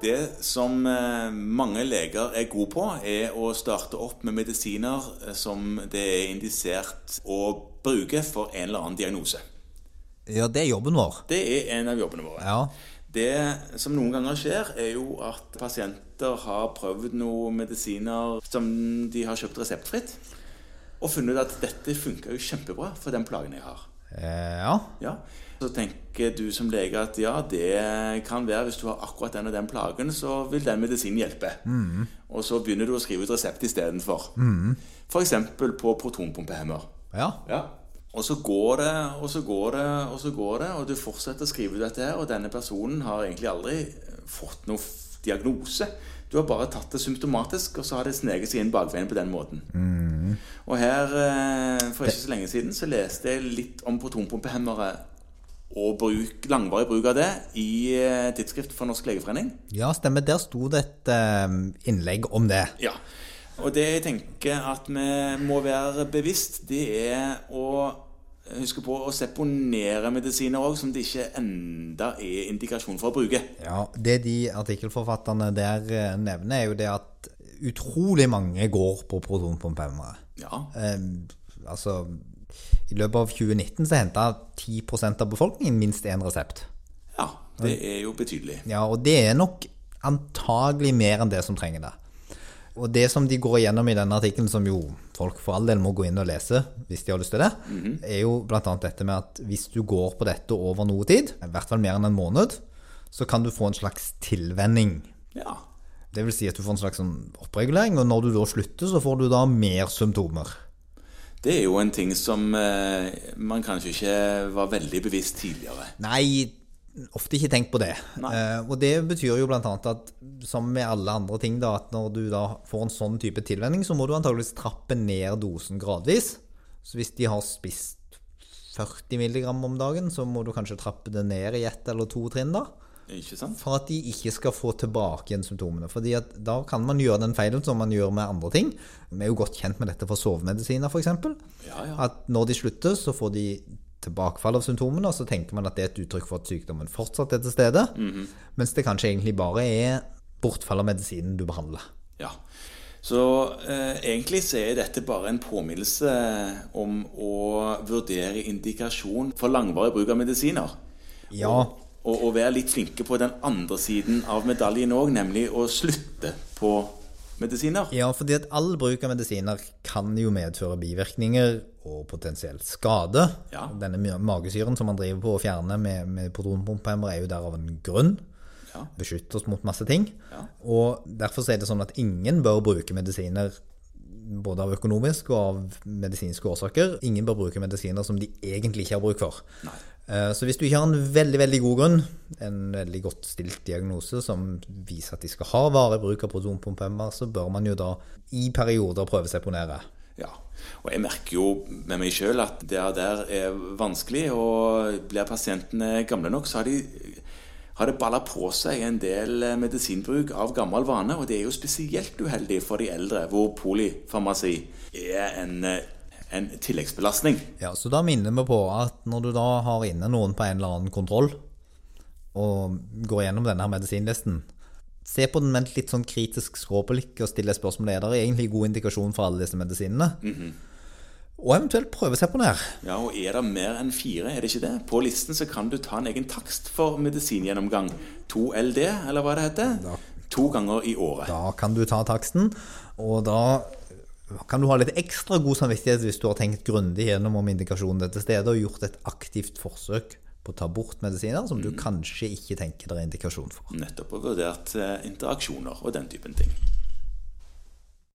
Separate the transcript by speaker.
Speaker 1: Det som eh, mange leger er gode på, er å starte opp med medisiner eh, som det er indisert å bruke for en eller annen diagnose.
Speaker 2: Ja, det er jobben vår.
Speaker 1: Det er en av jobbene våre.
Speaker 2: Ja.
Speaker 1: Det som noen ganger skjer, er jo at pasienter har prøvd noen medisiner som de har kjøpt reseptfritt, og funnet ut at dette funker jo kjempebra for den plagen jeg har.
Speaker 2: Eh, ja.
Speaker 1: Ja. Så tenker du som lege at ja, det kan være hvis du har akkurat den og den plagen, så vil den medisinen hjelpe. Og så begynner du å skrive ut resept istedenfor. Mm. F.eks. på protonpumpehemmer.
Speaker 2: Ja.
Speaker 1: Ja. Og så går det, og så går det, og så går det, og du fortsetter å skrive ut dette her, og denne personen har egentlig aldri eh, fått noen f- diagnose. Du har bare tatt det symptomatisk, og så har det sneket seg inn bakveien på den måten. Og her, eh, for ikke så lenge siden, så leste jeg litt om protonpumpehemmere og bruk, langvarig bruk av det i eh, tidsskrift for Norsk Legeforening.
Speaker 2: ja, stemmer. Der sto det et eh, innlegg om det.
Speaker 1: Ja. Og det jeg tenker at vi må være bevisst, det er å huske på å seponere medisiner òg, som det ikke enda er indikasjon for å bruke.
Speaker 2: Ja, Det de artikkelforfatterne der eh, nevner, er jo det at utrolig mange går på protonpumpehemmere.
Speaker 1: Ja.
Speaker 2: Eh, altså, i løpet av 2019 så henta 10 av befolkningen minst én resept.
Speaker 1: ja. Det er jo betydelig.
Speaker 2: Ja, og det er nok antagelig mer enn det som trenger det. Og det som de går igjennom i denne artikkelen, som jo folk for all del må gå inn og lese hvis de har lyst til det, er jo bl.a. dette med at hvis du går på dette over noe tid, i hvert fall mer enn en måned, så kan du få en slags tilvenning.
Speaker 1: Ja.
Speaker 2: Det vil si at du får en slags sånn oppregulering, og når du da slutter, så får du da mer symptomer.
Speaker 1: Det er jo en ting som eh, man kanskje ikke var veldig bevisst tidligere.
Speaker 2: Nei, ofte ikke tenkt på det.
Speaker 1: Nei.
Speaker 2: Eh, og det betyr jo blant annet at som med alle andre ting, da, at når du da får en sånn type tilvenning, så må du antageligvis trappe ned dosen gradvis. Så hvis de har spist 40 mg om dagen, så må du kanskje trappe det ned i ett eller to trinn, da.
Speaker 1: Ikke sant?
Speaker 2: For at de ikke skal få tilbake igjen symptomene. Fordi at da kan man gjøre den feilen som man gjør med andre ting. Vi er jo godt kjent med dette for sovemedisiner, f.eks.
Speaker 1: Ja, ja.
Speaker 2: At når de slutter, så får de tilbakefall av symptomene, og så tenker man at det er et uttrykk for at sykdommen fortsatt er til stede,
Speaker 1: Mhm.
Speaker 2: mens det kanskje egentlig bare er bortfall av medisinen du behandler.
Speaker 1: Ja. Så eh, egentlig så er dette bare en påminnelse om å vurdere indikasjon for langvarig bruk av medisiner.
Speaker 2: Ja.
Speaker 1: Og, og, og være litt flinke på den andre siden av medaljen òg, nemlig å slutte på medisiner.
Speaker 2: Ja, fordi at all bruk av medisiner kan jo medføre bivirkninger og potensielt skade.
Speaker 1: Ja.
Speaker 2: Denne ma- magesyren som man driver på å fjerne med, med protonpumpehemmer er jo der av en grunn.
Speaker 1: Ja.
Speaker 2: Beskytter oss mot masse ting.
Speaker 1: Ja.
Speaker 2: Og derfor så er det sånn at ingen bør bruke medisiner både av økonomiske og av medisinske årsaker. Ingen bør bruke medisiner som de egentlig ikke har bruk for. Eh, Så hvis du ikke har en veldig veldig god grunn, en veldig godt stilt diagnose som viser at de skal ha varig bruk av protonpumpehemmer, så bør man jo da i perioder prøveseponere.
Speaker 1: Ja. Og jeg merker jo med meg sjøl at det der er vanskelig, og blir pasientene gamle nok, så har de har det balla på seg en del eh, medisinbruk av gammel vane, og det er jo spesielt uheldig for de eldre, hvor polifarmasi er en, eh, en tilleggsbelastning.
Speaker 2: Ja, så da minner vi på at når du da har inne noen på en eller annen kontroll, og går gjennom denne her medisinlisten, se på den med et litt sånn kritisk skråblikk og stille spørsmålet er det egentlig god indikasjon for alle disse medisinene. Og eventuelt prøve seg på nær.
Speaker 1: Ja, og er det mer enn fire, er det ikke det? På listen så kan du ta en egen takst for medisingjennomgang. 2LD, eller hva det heter. To ganger i året.
Speaker 2: Da kan du ta taksten, og da kan du ha litt ekstra god samvittighet hvis du har tenkt grundig gjennom om indikasjonen er til stede, og gjort et aktivt forsøk på å ta bort medisiner som du kanskje ikke tenker det er indikasjon for.
Speaker 1: Nettopp og vurdert eh, interaksjoner og den typen ting.